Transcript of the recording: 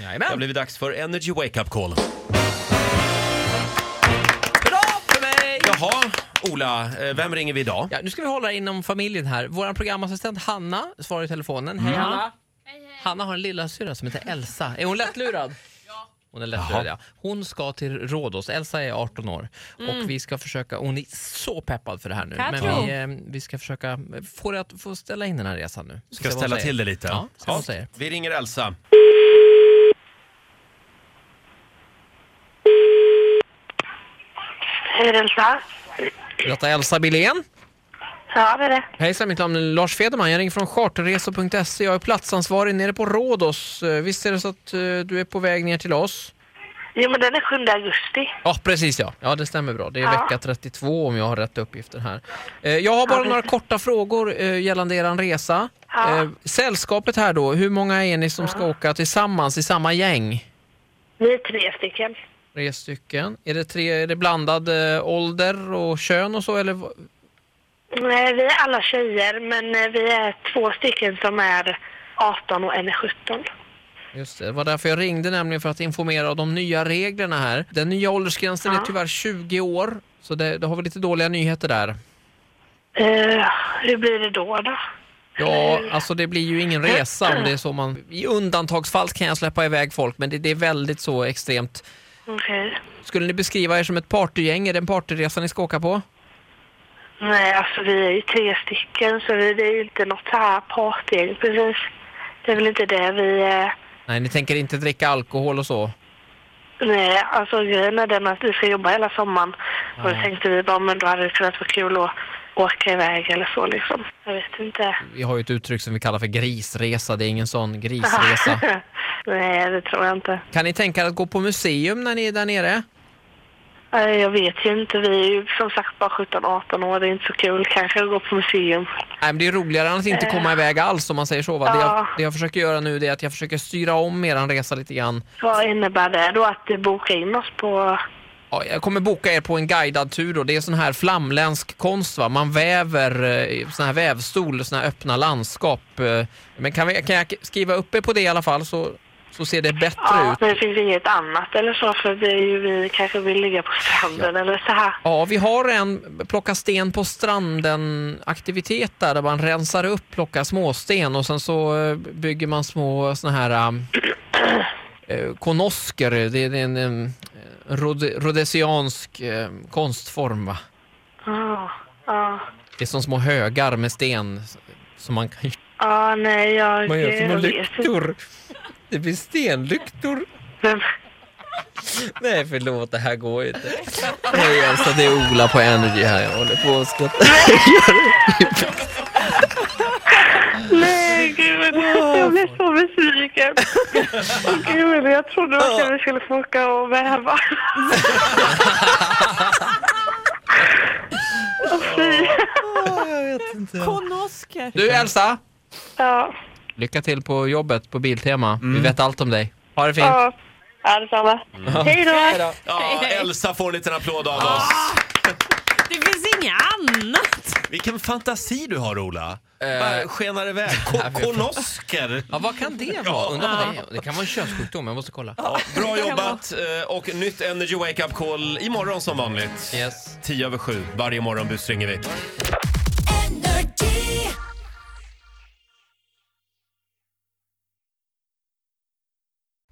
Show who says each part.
Speaker 1: Jajamän.
Speaker 2: Det har blivit dags för Energy Wake Up Call. Bra för mig! Jaha, Ola, eh, vem ringer vi idag?
Speaker 1: Ja, nu ska vi hålla inom familjen här. Vår programassistent Hanna svarar i telefonen. Mm. Hej Hanna! Hanna har en lilla syra som heter Elsa. Är hon lättlurad? Hon är lättlurad, ja. Hon ska till Rhodos. Elsa är 18 år. Och vi ska försöka, hon är så peppad för det här nu.
Speaker 3: Jag
Speaker 1: Men
Speaker 3: tror.
Speaker 1: vi, eh, vi ska försöka få, det att, få ställa in den här resan nu.
Speaker 2: Ska ställa till det lite.
Speaker 1: Ja, se vad hon säger.
Speaker 2: Vi ringer Elsa.
Speaker 4: Hej Elsa.
Speaker 1: Lotta Elsa Billén.
Speaker 4: Ja, det är det.
Speaker 1: Hejsan, mitt namn är Lars Federman. Jag ringer från charterresor.se. E. Jag är platsansvarig nere på Rhodos. Eh, Visst är det så att eh, du är på väg ner till oss?
Speaker 4: Jo, men den är 7 augusti.
Speaker 1: Ja, precis ja. Ja, det stämmer bra. Det är
Speaker 4: Ja.
Speaker 1: vecka 32 om jag har rätt uppgifter här. Eh, Jag har bara
Speaker 4: det-
Speaker 1: några korta frågor eh, gällande er resa.
Speaker 4: Ja.
Speaker 1: Eh, Sällskapet här då, hur många är ni som ska åka tillsammans i samma gäng?
Speaker 4: Vi är tre stycken.
Speaker 1: Tre stycken. Är det, tre, är det blandad eh, ålder och kön och så eller? vad-
Speaker 4: Nej, vi är alla tjejer, men eh, vi är två stycken som är 18 och en är 17.
Speaker 1: Just det, det var därför jag ringde nämligen för att informera om de nya reglerna här. Den nya åldersgränsen är
Speaker 4: Ja.
Speaker 1: tyvärr 20 år, så det, då har vi lite dåliga nyheter där.
Speaker 4: Eh, hur blir det då? då?
Speaker 1: Ja, alltså det blir ju ingen resa om det är så man... I undantagsfall kan jag släppa iväg folk, men det, det är väldigt så extremt.
Speaker 4: Okej.
Speaker 1: Skulle ni beskriva er som ett partygäng? Är det en partyresa ni ska åka på?
Speaker 4: Nej, alltså vi är ju tre stycken, så vi, det är ju inte något så här partygäng precis. Det är väl inte det vi... Eh,
Speaker 1: Nej, ni tänker inte dricka alkohol och så?
Speaker 4: nej, alltså grejen är den att vi ska jobba hela sommaren. Och
Speaker 1: Ja.
Speaker 4: då tänkte vi bara, men då hade det kunnat vara kul att åka iväg eller så liksom. Jag vet inte.
Speaker 1: Vi har ju ett uttryck som vi kallar för grisresa, det är ingen sån grisresa.
Speaker 4: Nej, det tror jag inte.
Speaker 1: Kan ni tänka er att gå på museum när ni är där nere?
Speaker 4: Nej, Jag vet ju inte. Vi är ju som sagt bara 17-18 år. Det är inte så kul kanske att gå på museum.
Speaker 1: Nej, men det är roligare än att inte komma iväg alls om man säger så. Va? Det, jag,
Speaker 4: Ja.
Speaker 1: det jag försöker göra nu det är att jag försöker styra om er resa lite grann.
Speaker 4: Vad innebär det då att du bokar in oss på...
Speaker 1: Ja, jag kommer boka er på en guidad tur då. Det är sån här flamländsk konst va. Man väver eh, sån här vävstol, sån här öppna landskap. eh. Men kan, vi, kan jag skriva upp er på det i alla fall så, så ser det bättre
Speaker 4: Ja,
Speaker 1: ut.
Speaker 4: men det finns inget annat eller så för det är ju, vi kanske vill ligga på stranden eller så här.
Speaker 1: Ja, vi har en plocka sten på stranden aktivitet där, där man rensar upp, plockar småsten och sen så eh, bygger man små såna här äh, eh, konosker. Det är det är en, en rhode- rhodesiansk eh, konstform va?
Speaker 4: Ja, ja.
Speaker 1: Det är som små högar med sten som man kan
Speaker 4: Ja, nej, jag...
Speaker 1: Man gör
Speaker 4: jag
Speaker 1: små
Speaker 4: vet inte.
Speaker 1: lyktor. Det blir stenlyktor.
Speaker 4: Men-
Speaker 1: Nej förlåt, det här går ju inte. Hej Elsa, det är Ola på Energy här. Jag håller på att skratta.
Speaker 4: Nej, gud. Jag blev så besviken. Åh, Gud, jag trodde verkligen vi skulle få åka och väva. Åh, Fy.
Speaker 3: Konosker.
Speaker 1: Du Elsa,
Speaker 4: Ja,
Speaker 1: lycka till på jobbet på Biltema. Vi vet allt om dig. Ha det fint.
Speaker 4: ja. Ja, detsamma. Hej då!
Speaker 2: Ja, Elsa får en liten applåd av oss.
Speaker 3: Det finns inget annat.
Speaker 2: Vilken fantasi du har, Ola. Bara skenar iväg. Ko- Konosker.
Speaker 1: Ja, vad kan det vara? Undrar vad det, är. det kan vara en könssjukdom, jag måste kolla.
Speaker 2: Ja, bra jobbat eh, och nytt Energy Wake Up Call imorgon som vanligt.
Speaker 1: Yes.
Speaker 2: 10 över 7. Varje morgon busringer vi.